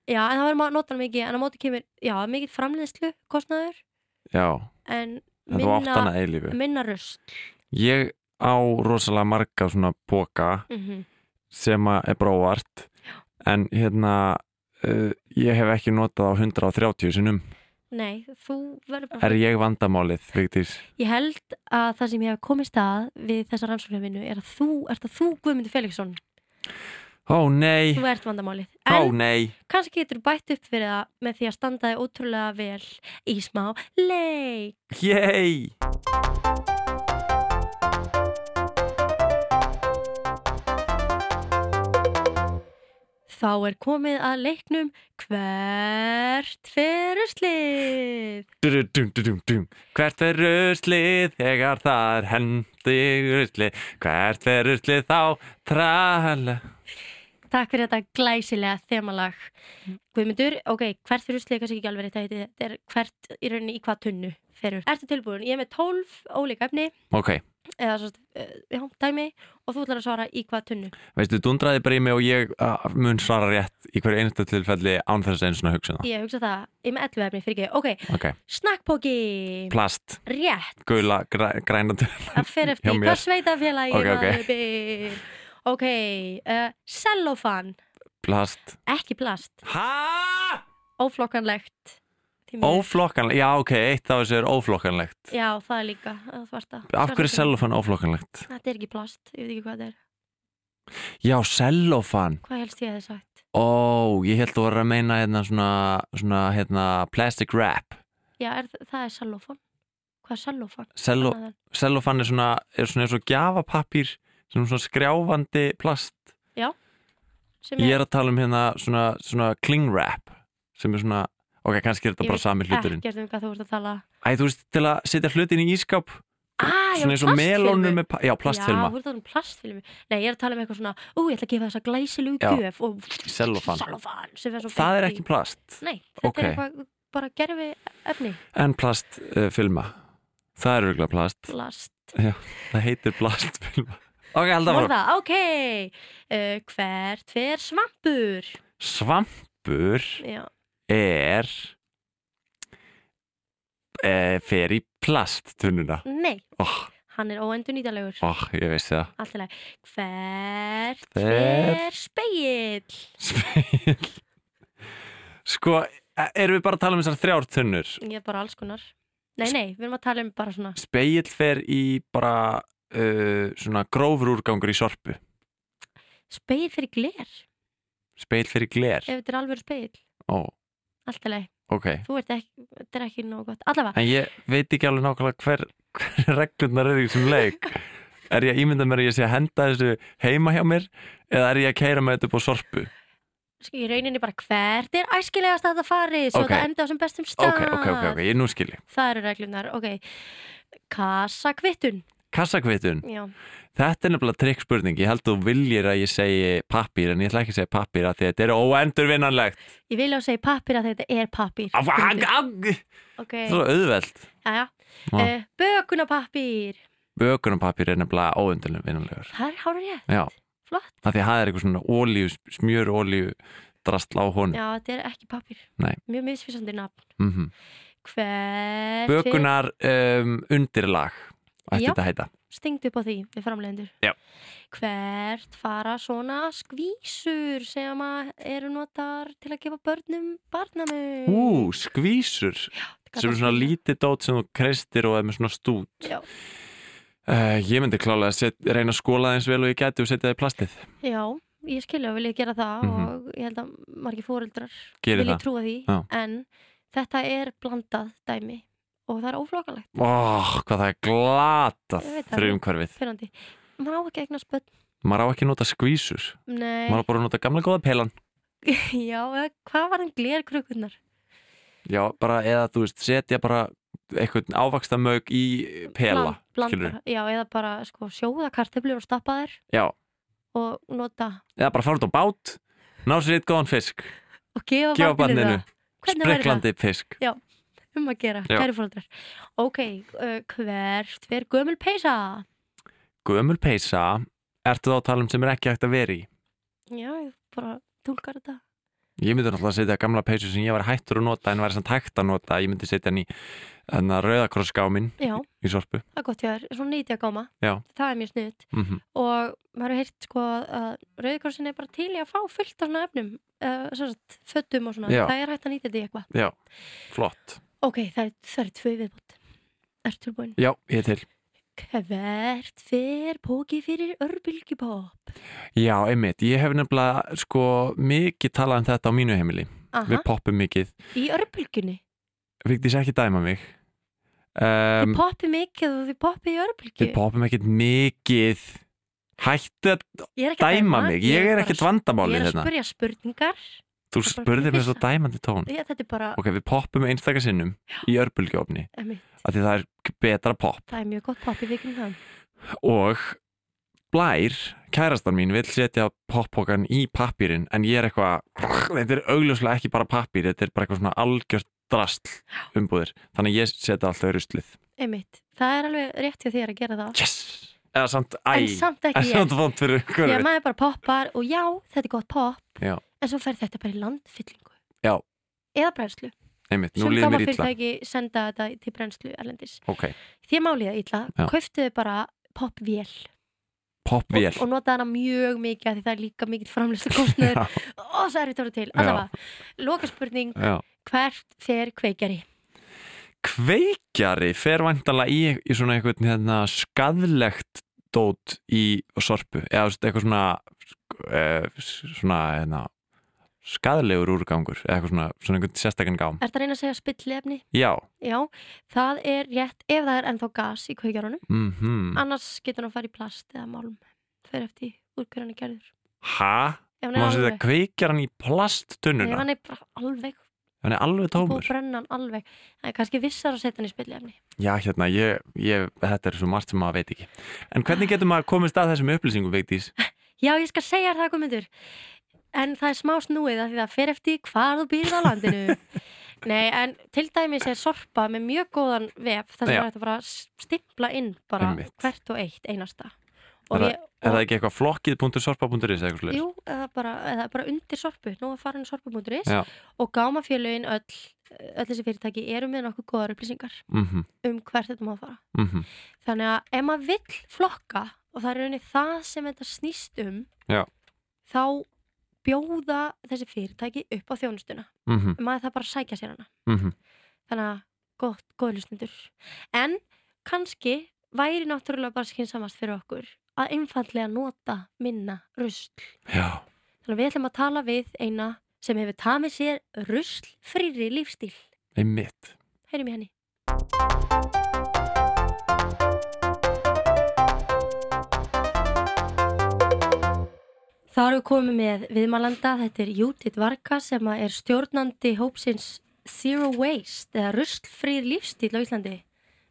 Speaker 2: já en það verður maður að nota hann mikið en á móti kemur, já mikið framleiðslu kostnaður
Speaker 1: Já,
Speaker 2: en
Speaker 1: þetta var átt
Speaker 2: minna,
Speaker 1: hana eilífu
Speaker 2: minna rusl
Speaker 1: Ég á rosalega marga svona boka
Speaker 2: mm
Speaker 1: sem að er bara óvart en hérna uh, ég hef ekki notað á 130 sinnum
Speaker 2: nei, þú verður bara
Speaker 1: Er ég vandamálið, Vigdís?
Speaker 2: Ég held að það sem ég hef komið stað við þessa rannsóknarvinnu er að þú, ert að þú Guðmundur Felixson,
Speaker 1: Ó nei,
Speaker 2: þú ert vandamálið.
Speaker 1: ó
Speaker 2: En
Speaker 1: nei
Speaker 2: kannski getur bætt upp fyrir það með því að standaði ótrúlega vel í smá leik.
Speaker 1: Yay!
Speaker 2: Þá er komið að leiknum hvert fyrir slið.
Speaker 1: Dum, dum, dum, dum, dum. Hvert er ruslið þegar það er hendi ruslið Hvert er ruslið þá trala
Speaker 2: Takk fyrir þetta glæsilega þemalag. Guðmundur, ok, hvert fyrir slið er kannski ekki alveg rétt að heiti, þetta er hvert í rauninni í hvað tunnu fyrir. Ertu tilbúin? Ég er með 12 ólíka efni.
Speaker 1: Ok,
Speaker 2: eða svo, uh, já, dæmi og þú ætlar að svara í hvað tunnu
Speaker 1: veistu, dundraði bara í mig og ég uh, mun svara rétt í hverju einasta tilfelli án þess einu svona hugsun það
Speaker 2: ég hugsa það, ég er með 11 efni fyrir ekki ok,
Speaker 1: Ok,
Speaker 2: snakkpóki
Speaker 1: plast,
Speaker 2: rétt,
Speaker 1: gula, græ, grænandi
Speaker 2: að
Speaker 1: Hjá
Speaker 2: fyrir eftir
Speaker 1: mér.
Speaker 2: hvað sveitafélagi
Speaker 1: Ok, ok.
Speaker 2: maður byr ok, uh, cellofan
Speaker 1: Plast
Speaker 2: ekki plast,
Speaker 1: Ha?
Speaker 2: óflokkanlegt Því miður.
Speaker 1: Óflokkanlegt, já ok, eitt af þessu er óflokkanlegt
Speaker 2: já, það er líka það svarta
Speaker 1: Af hverju er
Speaker 2: Svarta
Speaker 1: cellofan óflokkanlegt?
Speaker 2: tunnu. þetta er ekki plast, ég veit ekki hvað þetta er
Speaker 1: Já, cellofan
Speaker 2: hvað helst ég að það sagt
Speaker 1: Ó, ég held þú var að meina hérna svona, svona hérna, plastic wrap
Speaker 2: já, er, það er cellofan hvað er cellofan?
Speaker 1: Cello,
Speaker 2: Annað en-
Speaker 1: cellofan er svona, er svona eins og gjafapappír sem er svona skrjáfandi plast
Speaker 2: sem
Speaker 1: ég er að tala um hérna svona, svona cling wrap sem er svona, ok, kannski er þetta
Speaker 2: Ég
Speaker 1: bara sami hluturinn
Speaker 2: ekkert um hvað þú ert að tala
Speaker 1: Æ, þú veist, til að setja hlutin í ískáp
Speaker 2: ah, já,
Speaker 1: svona eins og melónur
Speaker 2: plastfilmu.
Speaker 1: með, pa- já,
Speaker 2: Já,
Speaker 1: plastfilma
Speaker 2: þú ert að tala um plastfilmu Nei, ég er að tala um eitthvað svona Ú, ég ætla að gefa þessa glæsilegu
Speaker 1: Já.
Speaker 2: gjöf og
Speaker 1: Cellofan.
Speaker 2: Cellofan, sem er svo
Speaker 1: það er
Speaker 2: beint í-
Speaker 1: ekki plast,
Speaker 2: Nei, þetta
Speaker 1: Ok.
Speaker 2: er eitthvað bara gerfi efni
Speaker 1: en plastfilma það er röglega plast
Speaker 2: Plast
Speaker 1: það heitir plastfilma [laughs] ok, held að fara,
Speaker 2: Morða, ok uh, Hvert fer svampur?
Speaker 1: svampur
Speaker 2: Já,
Speaker 1: er e, fer í plasttununa
Speaker 2: Nei,
Speaker 1: oh,
Speaker 2: hann er óendur nýtalegur
Speaker 1: oh, ég veist það
Speaker 2: Alltilega, hvert
Speaker 1: Fer-
Speaker 2: fer speill?
Speaker 1: Spil. sko, e- erum við bara að tala um þessar þrjár tunnur
Speaker 2: Ég er bara alls konar Nei, nei, við erum að tala um bara svona
Speaker 1: speill fer í bara uh, svona grófur úrgangur í sorpu
Speaker 2: Speill fyrir gler,
Speaker 1: speill fer í gler
Speaker 2: ef þetta er alveg speill
Speaker 1: ó,
Speaker 2: Alltilega,
Speaker 1: ok,
Speaker 2: þú ert ekki, þetta er ekki nóg gott Allavega,
Speaker 1: en ég veit ekki alveg nákvæmlega hver, hver [laughs] reglurnar eru í þessum leik er ég að ímynda mér að ég sé að henda þessu heima hjá mér eða er ég að keira með þetta upp á sorpu
Speaker 2: sko, í rauninni bara hvert er æskilegast að það fari Svo
Speaker 1: Ok.
Speaker 2: það endi á sem bestum stað
Speaker 1: ok, ok, ok, ok, ég nú skilji
Speaker 2: Það eru reglunar, ok Kassakvittun
Speaker 1: kassakvitun,
Speaker 2: Já,
Speaker 1: þetta er nefnilega trikkspurning ég held þú viljir að ég segi pappír en ég ætla ekki að segja pappír að þetta er óendurvinnanlegt
Speaker 2: ég vil á að segja pappir að þetta er pappir
Speaker 1: Af- ag- ag-
Speaker 2: Ok,
Speaker 1: það er svo auðveld
Speaker 2: já, Eh,
Speaker 1: Já.
Speaker 2: já Bökunapappir
Speaker 1: bökunarpappír er nefnilega óendurvinnanlegur
Speaker 2: Það er hárið rétt,
Speaker 1: já,
Speaker 2: flott
Speaker 1: af því að það er eitthvað svona ólíu, smjör ólíu drastl á honum
Speaker 2: Já, þetta er ekki pappir
Speaker 1: Nei.
Speaker 2: Mjög misfísandi nafn
Speaker 1: mm
Speaker 2: Hver
Speaker 1: bökunar um, undirlag ætti
Speaker 2: Já.
Speaker 1: þetta að heita
Speaker 2: Stingdu upp á því, við framlegendur
Speaker 1: Já.
Speaker 2: Hvert fara svona skvísur sem að eru notar til að gefa börnum barnamum
Speaker 1: ú, skvísur sem er svona lítið dót sem þú kreistir og er með svona stút
Speaker 2: Já.
Speaker 1: Eh, ég myndi klálega að set, reyna að skóla það eins vel og ég geti og setja það í plastið
Speaker 2: Já, ég skilja og vilja gera það
Speaker 1: Mhm.
Speaker 2: og ég held að margir fóreldrar
Speaker 1: Gerir
Speaker 2: vilja
Speaker 1: það.
Speaker 2: trúa því
Speaker 1: Já.
Speaker 2: en þetta er blandað dæmi og það er óflokalegt
Speaker 1: oh, hvað það er glatað
Speaker 2: Ég veit það.
Speaker 1: fyrir umhverfið
Speaker 2: fyrrandi. Man á ekki að eignast börn
Speaker 1: maður á ekki að nota skvísur
Speaker 2: Nei,
Speaker 1: maður á bara að nota gamla góða pelan
Speaker 2: [laughs] já, eða hvað var þeim glerkrukkunar?
Speaker 1: Já, bara, eða þú veist, setja bara eitthvað ávaksta mög í pela
Speaker 2: Bland,
Speaker 1: skilurðu.
Speaker 2: blandar, já, eða bara sko, sjóða kartöflur og stappa þær
Speaker 1: Já,
Speaker 2: og nota
Speaker 1: eða bara fara út á bát ná sér eitt góðan fisk
Speaker 2: og gefa,
Speaker 1: Gefa
Speaker 2: barninu
Speaker 1: barninu.
Speaker 2: það Hvernig væri það
Speaker 1: spreklandi fisk
Speaker 2: um að gera,
Speaker 1: Já.
Speaker 2: kæri fóreldrar Ok, uh, hvert fer gömul peysa?
Speaker 1: Gömul peysa, ertu þá að tala um sem er ekki hægt að vera í?
Speaker 2: Já, ég bara tólkar þetta
Speaker 1: Ég myndi náttúrulega að setja gamla peysu sem ég var hættur að nota en væri samt hægt að nota, ég myndi setja hann í þannig að rauðakrossskáminn
Speaker 2: Já,
Speaker 1: í sorpu
Speaker 2: það er gott hjá þér, svona nýtja góma
Speaker 1: Já.
Speaker 2: Það er mjög snuðt
Speaker 1: mm
Speaker 2: og maður hefur heyrt sko að Rauðikorsin er bara til í að fá fullt af svona efnum uh, sagt, föttum og svona,
Speaker 1: Já.
Speaker 2: það er hægt að nýta þetta í eitthvað
Speaker 1: Já, flott
Speaker 2: Ok, það er, það er tvö í viðbútt Er tilbúin
Speaker 1: Já, ég er til
Speaker 2: Hvert fer póki fyrir örbylgjupopp?
Speaker 1: Já, einmitt, ég hef nefnilega sko mikið talað um þetta á mínu heimili
Speaker 2: Aha,
Speaker 1: Við poppum mikið,
Speaker 2: í örbylgjunni
Speaker 1: Vigdís ekki dæma mig
Speaker 2: Þið
Speaker 1: um,
Speaker 2: poppi mikið og þið poppi í örbylgju
Speaker 1: Við poppum ekkert mikið Hættu að
Speaker 2: Ég er ekki að
Speaker 1: dæma mig, ég er
Speaker 2: bara-
Speaker 1: ekkert
Speaker 2: Ég
Speaker 1: vandamálið
Speaker 2: er að
Speaker 1: hérna
Speaker 2: spurja spurningar
Speaker 1: Þú
Speaker 2: bara
Speaker 1: spurðir með
Speaker 2: pissa.
Speaker 1: svo dæmandi tón
Speaker 2: ég, Þetta er bara,
Speaker 1: Ok, við poppum einstakasinnum í örbulgjófni
Speaker 2: emmi,
Speaker 1: af því það er betra popp
Speaker 2: það er mjög gott popp í vikinu þann
Speaker 1: og Blær, kærastan mín, vill setja poppokan í pappýrin en ég er eitthvað, þetta er augljóslega ekki bara pappýr, þetta er bara eitthvað svona algjört drastl umbúðir, þannig að ég setja alltaf í ruslið.
Speaker 2: Einmitt. Það er alveg rétt hjá þér að gera það
Speaker 1: Yes! Eða samt, æ,
Speaker 2: En samt ekki
Speaker 1: [laughs] en
Speaker 2: ég
Speaker 1: samt vond fyrir
Speaker 2: Því að
Speaker 1: hverju.
Speaker 2: maður bara poppar og já, þetta er gott popp
Speaker 1: Já.
Speaker 2: En svo fer þetta bara í landfyllingu
Speaker 1: Já.
Speaker 2: Eða brennslu
Speaker 1: Einmitt, nú
Speaker 2: Sum
Speaker 1: líður mér illa.
Speaker 2: fyrirtæki senda þetta til brennslu erlendis
Speaker 1: Ok,
Speaker 2: Því að málið er illa,
Speaker 1: Já.
Speaker 2: kauftuðu bara poppvél
Speaker 1: poppvél.
Speaker 2: og, og notaði hana mjög mikið af Því það er líka mikill framlýstu
Speaker 1: [laughs]
Speaker 2: kostnöður
Speaker 1: Já,
Speaker 2: Og það er þetta til Allavega, lokaspurning,
Speaker 1: já.
Speaker 2: hvert fer kveikjari?
Speaker 1: Kveikjari fer vantanlega í, í svona eitthvað hérna, skadlegt dót í sorpu, eða þú veist, eitthvað svona, uh, svona hérna, skadlegur úrgangur, eða eitthvað svona, svona einhvern sérstakann gám.
Speaker 2: Ertu að reyna að segja spillefni?
Speaker 1: Já,
Speaker 2: Já, það er rétt ef það er ennþá gas í kveikjarunum
Speaker 1: mhm,
Speaker 2: annars getur hann að fara í plast eða málm fyrir eftir úr hverju hann er gerður
Speaker 1: ha?
Speaker 2: ef hann
Speaker 1: Má
Speaker 2: er
Speaker 1: setja
Speaker 2: alveg,
Speaker 1: kveikjaran í
Speaker 2: ef
Speaker 1: plasttunnuna,
Speaker 2: hann er bara alveg
Speaker 1: hann er alveg
Speaker 2: og
Speaker 1: tómur.
Speaker 2: brenna hann alveg en kannski vissar að setja hann í spillefni
Speaker 1: Já, hérna, ég, ég, þetta er svo margt sem maður veit ekki. En hvernig getur maður komist að þessum upplýsingum, Vigdís?
Speaker 2: já ég skal segja þér það komendur en það er smá snúið af því það fer eftir hvar þú býrð á
Speaker 1: [laughs]
Speaker 2: landinu nei en til dæmis er sorpa með mjög góðan vef þar sem
Speaker 1: Já.
Speaker 2: er hægt að bara stimpla inn bara
Speaker 1: Einmitt.
Speaker 2: hvert og eitt einasta
Speaker 1: Er
Speaker 2: og ég,
Speaker 1: Er það ekki eitthvað flokkið.sorpa.is eða eitthvað slur?
Speaker 2: Jú, eða bara, eða bara undir sorpu, nú að fara hann sorpu.is
Speaker 1: Já.
Speaker 2: og gámafélögin öll öll þessi fyrirtæki eru með nokkuð góðar upplýsingar
Speaker 1: mm -hmm,
Speaker 2: um hvert þetta má fara.
Speaker 1: mm -hmm.
Speaker 2: Þannig að ef maður vill flokka og það er rauninni það sem þetta snýst um
Speaker 1: Já.
Speaker 2: þá bjóða þessi fyrirtæki upp á þjónustuna.
Speaker 1: mhm,
Speaker 2: Maður það bara að sækja sér hana. Þannig að gott, góð lusnendur. En kannski væri náttúrulega bara skynsamast fyrir okkur að einfallega nota minna rusl.
Speaker 1: Já,
Speaker 2: Þannig að við ætlum að tala við eina sem hefur tamið sér rusl frýri lífstíl.
Speaker 1: einmitt
Speaker 2: Heyrim í henni. Það erum við komið með viðmælanda, þetta er Judith Varga sem að er stjórnandi hópsins Zero Waste eða ruslfrýr lífstíl á Íslandi.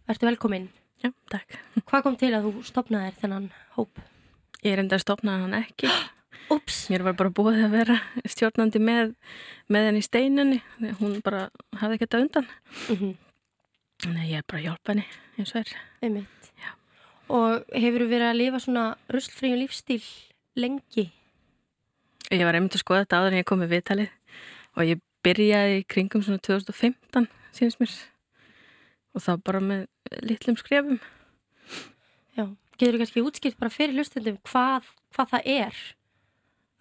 Speaker 2: Vertu velkomin.
Speaker 3: Já, takk.
Speaker 2: Hvað kom til að þú stopnaðir þennan hóp?
Speaker 3: Ég reyndi að stopna hann ekki.
Speaker 2: Ups,
Speaker 3: Mér var bara búið að vera stjórnandi með, með henni í steinunni. Þegar Hún bara hafði ekki þetta undan.
Speaker 2: mhm,
Speaker 3: Nei, ég er bara að hjálpa henni eins og er.
Speaker 2: einmitt. Og hefur verið að lifa svona ruslfrýjum lífstíl lengi?
Speaker 3: Ég var einmitt að skoða þetta áður en ég kom með viðtalið og ég byrjaði í kringum svona 2015, sínst mér. Og þá bara með litlum skrefum.
Speaker 2: Já, getur þú kannski útskipt bara fyrir hlustendum hvað, hvað það er?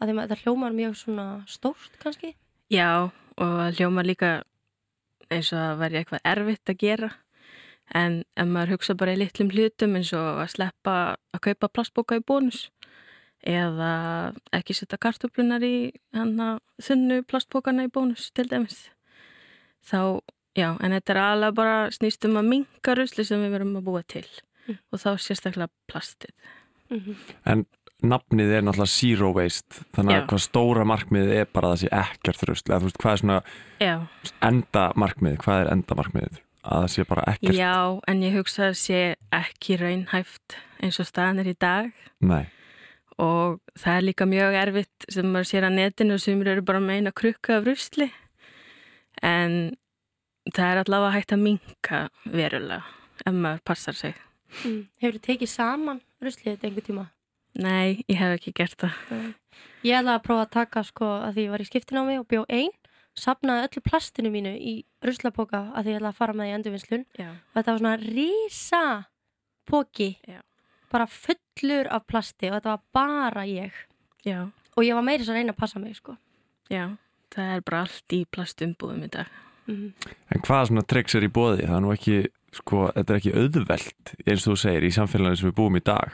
Speaker 2: Að þeim að þetta hljómar mjög svona stórt kannski?
Speaker 3: Já, og það hljóma líka eins og að verði eitthvað erfitt að gera. En ef maður hugsa bara í litlum hlutum eins og að sleppa að kaupa plastbóka í bónus eða ekki setja kartublunar í hana, þunnu plastbókana í bónus til dæmis. Þá, já, en þetta er alveg bara snýst um að minka rusli sem við verum að búa til
Speaker 2: Mm.
Speaker 3: og þá sérstaklega plastið.
Speaker 2: Mm -hmm.
Speaker 1: Nafnið er náttúrulega zero waste þannig að
Speaker 3: Já.
Speaker 1: hvað stóra markmiðið er bara að það sé ekkert rusl eða þú veist hvað er svona
Speaker 3: Já.
Speaker 1: enda markmiðið, hvað er enda markmiðið að það sé bara ekkert,
Speaker 3: Já, en ég hugsa að sé ekki raunhæft eins og staðan er í dag.
Speaker 1: nei
Speaker 3: og það er líka mjög erfitt sem maður sér að netinu og sumir eru bara með eina krukku af rusli en það er allavega hægt að minka verulega ef maður passar sig.
Speaker 2: Mm. Hefur þú tekið saman ruslið þetta einhver tíma?
Speaker 3: Nei, ég hef ekki gert það.
Speaker 2: Ég ætlaði að prófa að taka sko að því ég var í skiptinámi og bjó einn, sapnaði öllu plastinu mínu í ruslapoka að því ég ætlaði að fara með það í endurvinnslun
Speaker 3: Já.
Speaker 2: og þetta var svona rísa poki,
Speaker 3: Já.
Speaker 2: bara fullur af plasti og þetta var bara ég
Speaker 3: Já,
Speaker 2: og ég var meiri svo að reyna að passa mig sko.
Speaker 3: já. Það er bara allt í plastumbúðum í dag.
Speaker 2: Mm.
Speaker 1: En hvað svona tricks er í bóði? Það er nú ekki, sko, þetta er ekki auðvelt eins og þú segir í samfélaginu sem við búum í dag.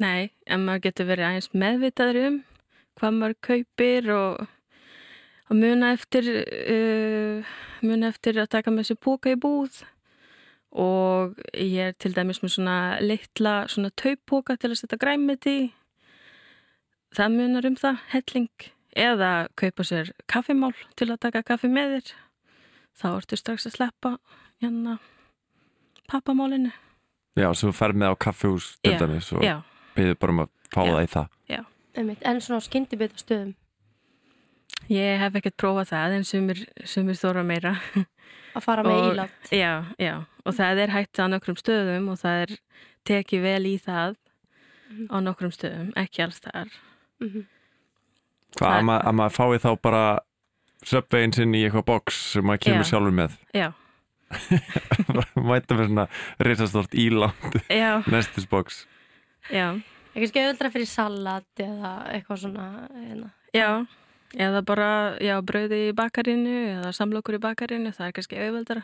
Speaker 3: Nei, en maður getur verið aðeins meðvitaður um hvað maður kaupir og, og muna, eftir, uh, muna eftir að taka með sér póka í búð og ég er til dæmis með svona litla svona taupóka til að setja græmið í. Það munar um það, helling. Eða kaupa sér kaffimál til að taka kaffi með þér. Þá ertu strax að sleppa hérna pappamálinu.
Speaker 1: Já, sem þú fer með á kaffihús til
Speaker 3: Já,
Speaker 1: dæmis og
Speaker 3: Já,
Speaker 1: byrðir bara um að fá
Speaker 3: Já.
Speaker 1: það í það.
Speaker 2: Einmitt, En svona skyndibita stöðum
Speaker 3: Ég hef ekkert prófað það en sumir, sumir þóra meira.
Speaker 2: að fara með
Speaker 3: Og-
Speaker 2: í land
Speaker 3: Já, já. Og það er hægt á nokkrum stöðum og það er tekið vel í það
Speaker 2: Mhm.
Speaker 3: á nokkrum stöðum, ekki alls þar.
Speaker 2: Mhm.
Speaker 1: Hvað,
Speaker 3: Það-
Speaker 1: að, ma að maður fái þá bara söpveginn sinn í eitthvað box sem maður kemur
Speaker 3: Já.
Speaker 1: sjálfur með. [laughs]
Speaker 3: Já,
Speaker 1: Mæta með svona risastort [laughs] íland
Speaker 3: já,
Speaker 1: nestis box.
Speaker 3: já,
Speaker 2: Ekki skauðuldra fyrir salat eða eitthvað svona hérna.
Speaker 3: já. Eða bara, já, brauði í bakarinu eða samlokur í bakarinu, það er kannski auðveldara.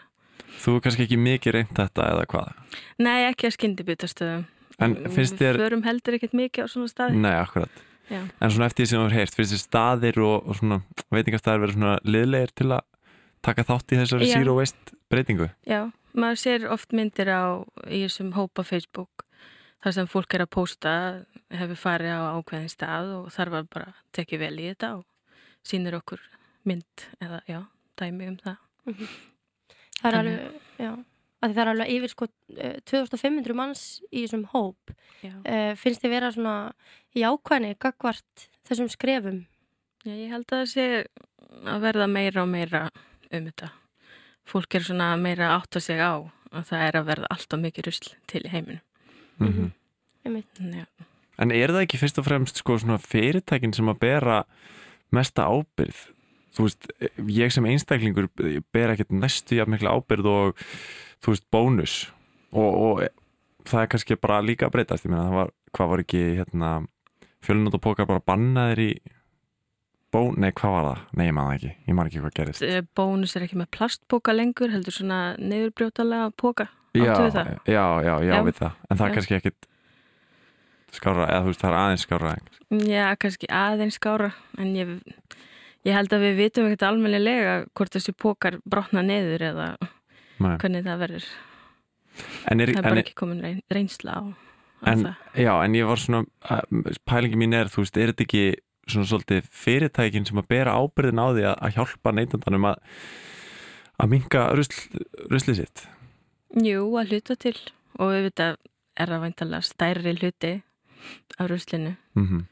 Speaker 1: Þú er kannski ekki mikið reynd þetta eða hvað.
Speaker 3: Nei, ekki að skyndibutastöðum.
Speaker 1: En
Speaker 3: Mm,
Speaker 1: finnst þér,
Speaker 3: Við förum heldur ekkert mikið á svona staði.
Speaker 1: nei, akkurat.
Speaker 3: Já.
Speaker 1: En svona eftir því sem þú hefur heyrt, finnst þér staðir og, og svona veitingastæðir verið svona liðlegir til að taka þátt í þessari
Speaker 3: Já.
Speaker 1: zero waste breytingu?
Speaker 3: Já, maður sér oft myndir á í þessum hópa Facebook þar sem fólk er að pósta hefur farið á ákveðin stað og þar var bara tekið vel í þetta og sýnir okkur mynd eða já, dæmi um það.
Speaker 2: Það er
Speaker 3: Þannig.
Speaker 2: alveg, já að það er alveg yfir sko eh, 2500 manns í þessum hóp
Speaker 3: Já,
Speaker 2: uh, finnst þið vera svona jákvæðni gagvart þessum skrefum
Speaker 3: já ég held að það sé að verða meira og meira um þetta. Fólk er svona meira að átta sig á og það er að verða alltaf mikið rusl til í heiminum.
Speaker 1: Mm
Speaker 2: Mhm. einmitt,
Speaker 3: Já,
Speaker 1: En er það ekki fyrst og fremst sko, svona fyrirtækin sem að bera mesta ábyrð? þú veist, ég sem einstaklingur ber ekkert næstu jafn mikla ábyrð og þú veist, bónus og, og það er kannski bara líka að breytast, ég meina, það var, hvað var ekki hérna, fjölunótt og pókar bara bannaðir í bón, nei, hvað var það? Nei, ég man það ekki, ég man ekki hvað gerist
Speaker 3: Eh, Bónus er ekki með plastpoka lengur, heldur svona neyðurbrjótalega poka. áttu við það?
Speaker 1: já, já, já,
Speaker 3: Já.
Speaker 1: við það en það
Speaker 3: Já.
Speaker 1: er kannski ekkert skára, eða þú veist, það er aðeins skára
Speaker 3: Já, kannski aðeins skára, en ég, ég held að við vitum ekkert almennilega hvort þessi pókar brotna neyður eða
Speaker 1: Nei.
Speaker 3: hvernig það verður.
Speaker 1: en er,
Speaker 3: Það er
Speaker 1: en,
Speaker 3: bara ekki komin reyn, reynsla á, á
Speaker 1: En-
Speaker 3: það.
Speaker 1: Já, en ég var svona, að- pælingi mín er, þú veist, er þetta ekki svona svolítið fyrirtækin sem að bera ábyrðin á því að, að hjálpa neytandanum að, að minka rusl, ruslið sitt?
Speaker 3: Jú, að hluta til og auðvitað er það væntalega stærri hluti af ruslinu
Speaker 1: Mm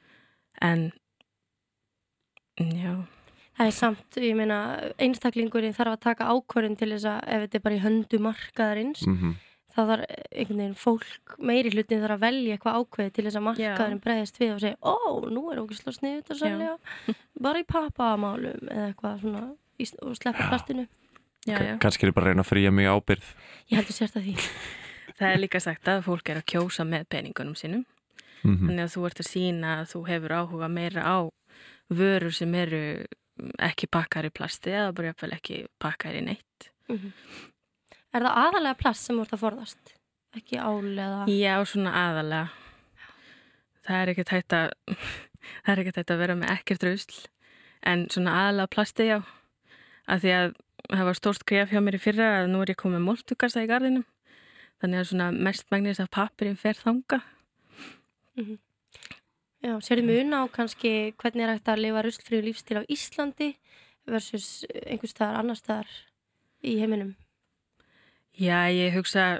Speaker 3: en já,
Speaker 2: Það er samt, ég meina, einstaklingurinn þarf að taka ákvörðin til þess að ef þetta er bara í höndu markaðarins, þá þarf eh, einhvern veginn fólk, meiri hlutin þarf að velja eitthvað ákveði til þess að markaðurinn breyðist við og segja, ó, nú er ógislega sniðið þetta sannlega, bara í pappamálum eða eitthvað svona í- og sleppa
Speaker 1: Já.
Speaker 2: plastinu.
Speaker 3: já, já.
Speaker 1: Kannski er ég bara að reyna að fríja mig ábyrð.
Speaker 2: Ég heldur sért að því.
Speaker 3: Það er líka sagt að fólk er að kjósa með peningunum sínum
Speaker 1: Mm -hmm.
Speaker 3: þannig að þú ert að sína að þú hefur áhuga meira á vörur sem eru ekki pakkar í plasti eða bara jafnvel ekki pakkar í neitt.
Speaker 2: Er það aðalega plast sem þú ert að forðast? Ekki ál eða...
Speaker 3: Já, svona aðalega. Það er ekkert hægt að, [laughs] það er ekkert hægt að vera með ekkert rusl en svona aðalega plasti já. Af því að það var stórt gref hjá mér í fyrra að nú er ég komið múltukassa í gardinum. Þannig að svona mest magnis af pappirinn fer þanga.
Speaker 2: Já, sérðu mun á kannski hvernig er hægt að lifa ruslfríu lífstíl á Íslandi versus einhvers staðar annar staðar í heiminum.
Speaker 3: Já, ég hugsa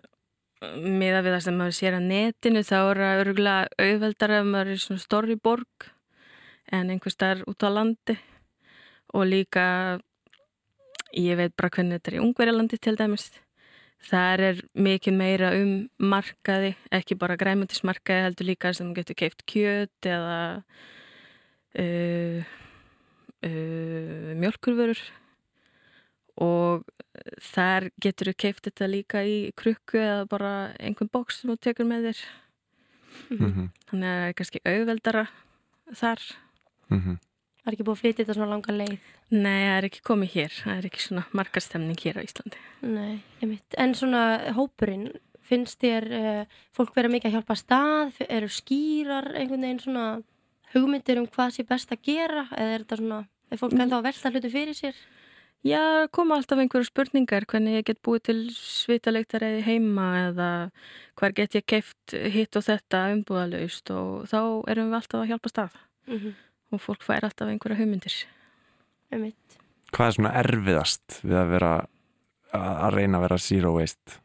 Speaker 3: miða við það sem maður sér á netinu þá er það örgulega auðveldar ef maður er í svona stórri borg en einhver staðar út á landi og líka ég veit bara hvernig þetta er í Ungverjalandi til dæmis þar er mikið meira um markaði ekki bara græmutismarkaði heldur líka sem getur keift kjöt eða uh, uh, mjölkurvörur og þar getur þú keift þetta líka í krukku eða bara einhvern bóks sem þú tekur með þér Mhm. þannig að það er kannski auðveldara þar
Speaker 2: Það er ekki búið að flytja þetta svona langan leið.
Speaker 3: Nei, það er ekki komið hér, það er ekki svona markastemning hér á Íslandi
Speaker 2: Nei, einmitt. En svona hópurinn, finnst þér uh, fólk vera mikið að hjálpa að stað? Eru skýrar einhvern veginn svona hugmyndir um hvað sé best að gera? Eða er þetta svona, er
Speaker 3: Mm.
Speaker 2: fólk ennþá að velta hlutu fyrir sér?
Speaker 3: Já, það koma alltaf einhverju spurningar hvernig ég get búið til svitalegtaræði heima eða hvar get ég keift hitt og þetta umbúðalaust og þá erum við alltaf að hjálpa stað
Speaker 2: Mm -hmm.
Speaker 3: og fólk fær alltaf einhverja hugmyndir
Speaker 2: Einmitt.
Speaker 1: Hvað er svona erfiðast við að vera að að reyna að vera zero waste?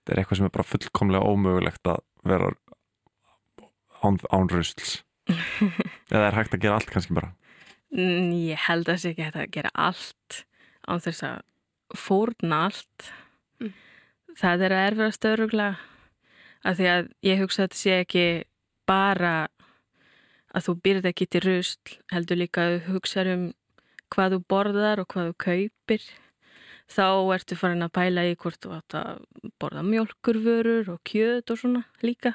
Speaker 1: Þetta er eitthvað sem er bara fullkomlega ómögulegt að vera án, án
Speaker 3: [laughs]
Speaker 1: rusls. Eða er hægt að gera allt kannski bara.
Speaker 3: Mm, Ég held að það sé ekki hægt að gera allt án þess að fórna allt.
Speaker 2: Mm.
Speaker 3: Það er að erfira stöðrugla af því að ég hugsa að þetta sé ekki bara að þú byrði ekki til rusl, heldur líka að þú hugsa um hvað þú borðar og hvað þú kaupir. Þá ertu farin að pæla í hvort þú átt að borða mjólkurvörur og kjöt og svona líka.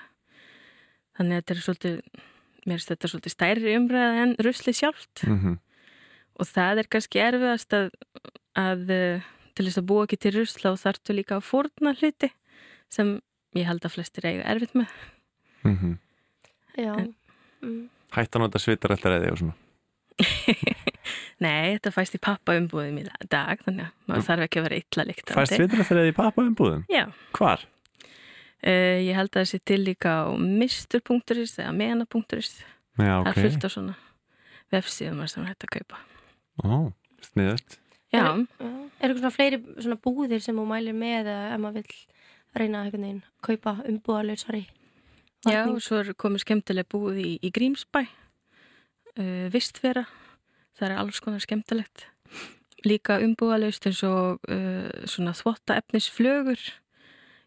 Speaker 3: Þannig að þetta er svolítið, mér finnst þetta svolítið stærri umræða en rusli sjálft
Speaker 1: Mm
Speaker 3: og það er kannski erfiðast að, að eh, til þess að búa ekki til rusla og þartu líka að fórna hluti sem ég held að flestir eiga erfitt með.
Speaker 1: mm -hmm.
Speaker 2: Já.
Speaker 3: En-
Speaker 2: Mm.
Speaker 1: hættan á þetta svitarættaræði og svona
Speaker 3: Nei, þetta fæst í pappa umbúðum í dag, þannig að maður þarf ekki að vera illa líkt
Speaker 1: fæst svitarættaræði í pappa umbúðum?
Speaker 3: Já,
Speaker 1: Hvar?
Speaker 3: uh, ég held að það sé til líka á mistur.is eða mena.is,
Speaker 1: Já,
Speaker 3: það
Speaker 1: ok,
Speaker 3: er fullt á svona vefsíðum þar sem er hægt að kaupa.
Speaker 1: Ó, sniðut
Speaker 3: Já,
Speaker 1: Eh,
Speaker 2: Er, já. er eitthvað svona fleiri svona búðir sem þú mælir með eða ef maður vill reyna einhvern veginn kaupa umbúðalausari?
Speaker 3: já,
Speaker 2: varning?
Speaker 3: og svo er komið skemmtileg búið í, í Grímsbæ, uh, Vistvera, það er alls konar skemmtilegt. Líka umbúðalaust eins og uh, svona þvottaefnisflögur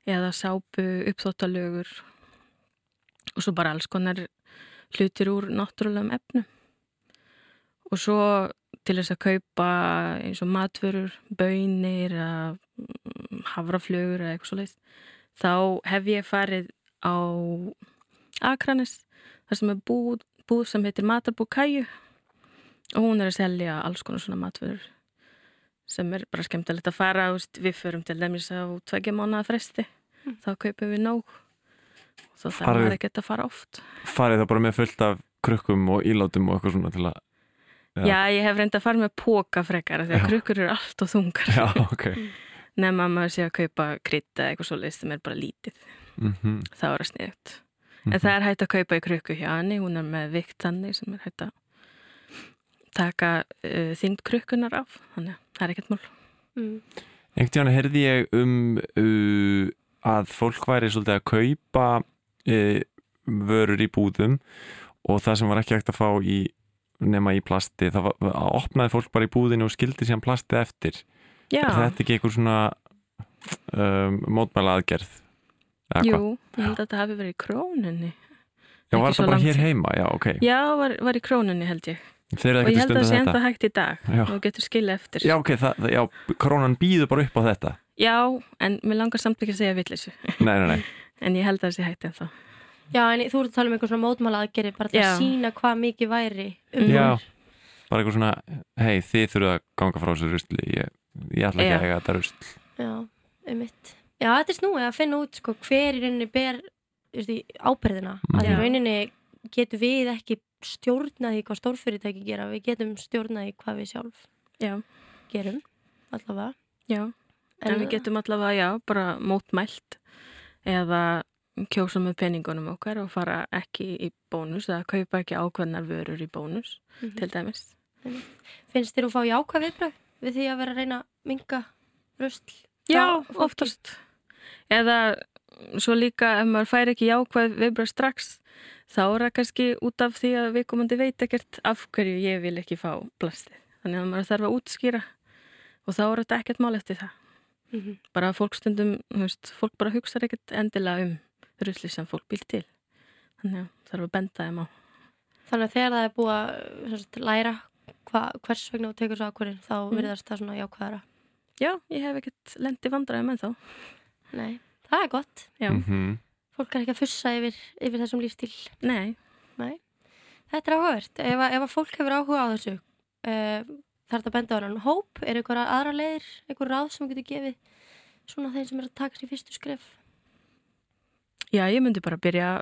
Speaker 3: eða sápu uppþvottalögur og svo bara alls konar hlutir úr náttúrulegum efnum. Og svo til þess að kaupa eins og matvörur, bönir, havraflögur eða eitthvað svo Þá hef ég farið á Akranes, þar sem er búð, búð sem heitir Matabú Kæju og hún er að selja alls konar svona matvörur sem er bara skemmtilegt að fara þú veist, við förum til dæmis á tveggja mánuða fresti þá kaupum við nóg og þá þarf
Speaker 1: Farið-
Speaker 3: maður ekkert að fara oft
Speaker 1: farið það bara með fullt af krukkum og ílátum og eitthvað svona til að [laughs] Já.
Speaker 3: Já, ég hef reyndi að fara með póka frekar af því að krukkur eru allt og þungar
Speaker 1: já, ok
Speaker 3: nema að maður sé að kaupa krytta eða eitthvað svo sem er bara lítið
Speaker 1: mm -hmm.
Speaker 3: þá er það sniðut
Speaker 1: mhm.
Speaker 3: en það er hægt að kaupa í krukku hjá henni hún er með vikt þannig sem er hægt að taka uh, þyngd krukkunar af þannig að það er ekkert mál
Speaker 2: Mm.
Speaker 1: einhvern tíðan heyrði ég um uh, að fólk væri svolítið að kaupa uh, vörur í búðum og það sem var ekki hægt að fá í nema í plasti, það var, að opnaði fólk bara í búðinu og skildi síðan plastið eftir
Speaker 3: Já,
Speaker 1: er þetta ekki einhver svona um, mótmæla aðgerð Eða
Speaker 3: jú,
Speaker 1: hvað?
Speaker 3: ég held að þetta hafi verið í krónunni
Speaker 1: já, var
Speaker 3: ekki svo
Speaker 1: það bara
Speaker 3: langt
Speaker 1: hér
Speaker 3: síðan.
Speaker 1: heima, já, ok
Speaker 3: Já, var, var í krónunni held ég
Speaker 1: þeir eru
Speaker 3: og ég
Speaker 1: ekkert að
Speaker 3: held að
Speaker 1: stunda
Speaker 3: það sé
Speaker 1: þetta
Speaker 3: enda hægt í dag
Speaker 1: Já.
Speaker 3: og þú getur skilja eftir
Speaker 1: já, ok, það, það- já, krónan býður bara upp á þetta
Speaker 3: Já, en mér langar samt ekki að segja villessu
Speaker 1: nei, nei, nei,
Speaker 3: en ég held að það sé hægt ennþá
Speaker 2: Já, en þú ert að tala um einhver svona mótmála aðgerði bara til
Speaker 3: Já.
Speaker 2: að sína hvað mikið væri um
Speaker 1: já
Speaker 2: það.
Speaker 1: bara eitthvað svona, hei, þið þurfið að ganga frá þessu rusli, ég, ég ætla ekki
Speaker 3: Já.
Speaker 1: að eiga þetta rusl
Speaker 2: Já, um mitt. Já, þetta er snúið að finna út sko, hver í rauninni ber þú veist, í ábyrðina.
Speaker 1: Mhm.
Speaker 2: Að í
Speaker 3: Já.
Speaker 2: rauninni getum við ekki stjórnaði hvað stórfyrirtæki gera, við getum stjórnaði hvað við sjálf
Speaker 3: Já,
Speaker 2: gerum allavega.
Speaker 3: já, en, við getum allavega já, bara mótmælt eða kjósa með peningunum okkar og fara ekki í bónus eða kaupa ekki ákveðnar vörur í bónus
Speaker 2: Mhm.
Speaker 3: til dæmis
Speaker 2: Finnst þér að fá jákvæð viðbröð við því að vera að reyna að minga rusl? frá
Speaker 3: Já,
Speaker 2: fólki?
Speaker 3: oftast. Eða svo líka ef maður fær ekki jákvæð viðbröð strax, þá er það kannski út af því að viðkomandi veit ekkert af hverju ég vil ekki fá plastið. Þannig að maður þarf að útskýra og þá er þetta ekkert mál eftir það.
Speaker 2: Mhm.
Speaker 3: Bara að fólk stundum, þú veist, fólk bara hugsar ekkert endilega um rusli sem fólk býr til. Þannig að þarf að benda þeim á.
Speaker 2: Þannig að þegar það er búið að sem sagt, læra hva, hvers vegna þú tekur svo ákvörðin þá
Speaker 3: Mhm.
Speaker 2: virðast það svona jákvæðara.
Speaker 3: Já, ég hef ekkert lendi vandræðum en þá.
Speaker 2: Nei, það er gott.
Speaker 3: Já,
Speaker 1: mm -hmm.
Speaker 2: Fólk er ekki að fussa yfir, yfir þessum lífstíl.
Speaker 3: nei.
Speaker 2: Þetta er áhugavert. Ef, að- ef að fólk hefur áhuga á þessu uh, þarf það að benda á hann hóp. Er einhverja aðra leiðir, einhver ráð sem þú getur gefið svona þeir sem er að taka sér fyrstu skref?
Speaker 3: Já, ég myndi bara byrja,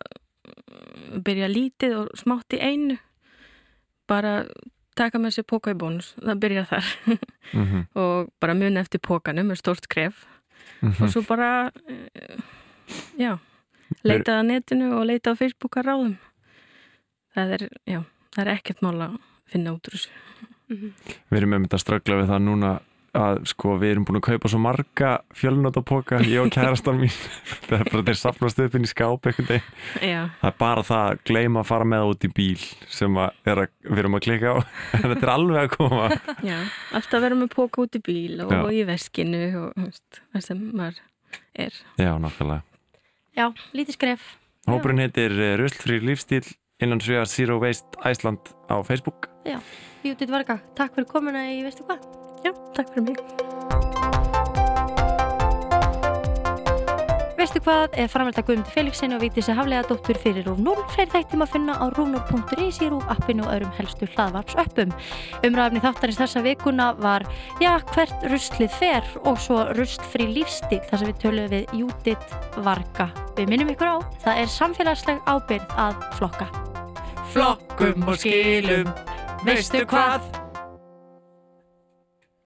Speaker 3: byrja lítið og smátt í einu. Bara taka með sér póka í bónus, það byrja þar.
Speaker 1: Mm -hmm.
Speaker 3: og bara muna eftir pókanum með stórt kref.
Speaker 1: mhm.
Speaker 3: Og svo bara, eh, já, leita að netinu og leita á Facebooka ráðum. Það er, já, það er ekkert mál að finna út úr þessu.
Speaker 1: við erum með að ströggla við það núna að sko við erum búin að kaupa svo marga fjölnótapoka, ég og kærastan mín [laughs] það er bara þeir safnast upp inn í skáp einhvern veginn,
Speaker 3: Já,
Speaker 1: það er bara það að gleyma að fara með það út í bíl sem að er að, við erum að klika á [laughs] en þetta er alveg að koma
Speaker 3: já, alltaf vera með póka út í bíl og,
Speaker 1: Já.
Speaker 3: og í veskinu og þú veist, það sem maður er.
Speaker 1: já, nákvæmlega
Speaker 2: Já, lítið skref.
Speaker 1: Hópurinn heitir Ruslfrýr lífstíl innan svegar Zero Waste Iceland á Facebook
Speaker 2: Jútið Varga, takk fyrir komuna í veistu hvað?
Speaker 3: Já, takk fyrir mig.
Speaker 2: Veistu hvað er framhald að Guðmundur Felixin og Vítis að haflega dóttur fyrir Rúf 0 fleiri þættum að finna á rúfnur.is í Rúf appinu og öðrum helstu hlaðvarps öppum. Umræfni þáttarins þessa vikuna var já, hvert ruslið fer og svo rustfri lífstík þar sem við töluðum við Júdit Varga. Við minnum ykkur á, það er samfélagsleg ábyrgð að flokka.
Speaker 4: flokkum og skilum. Veistu hvað?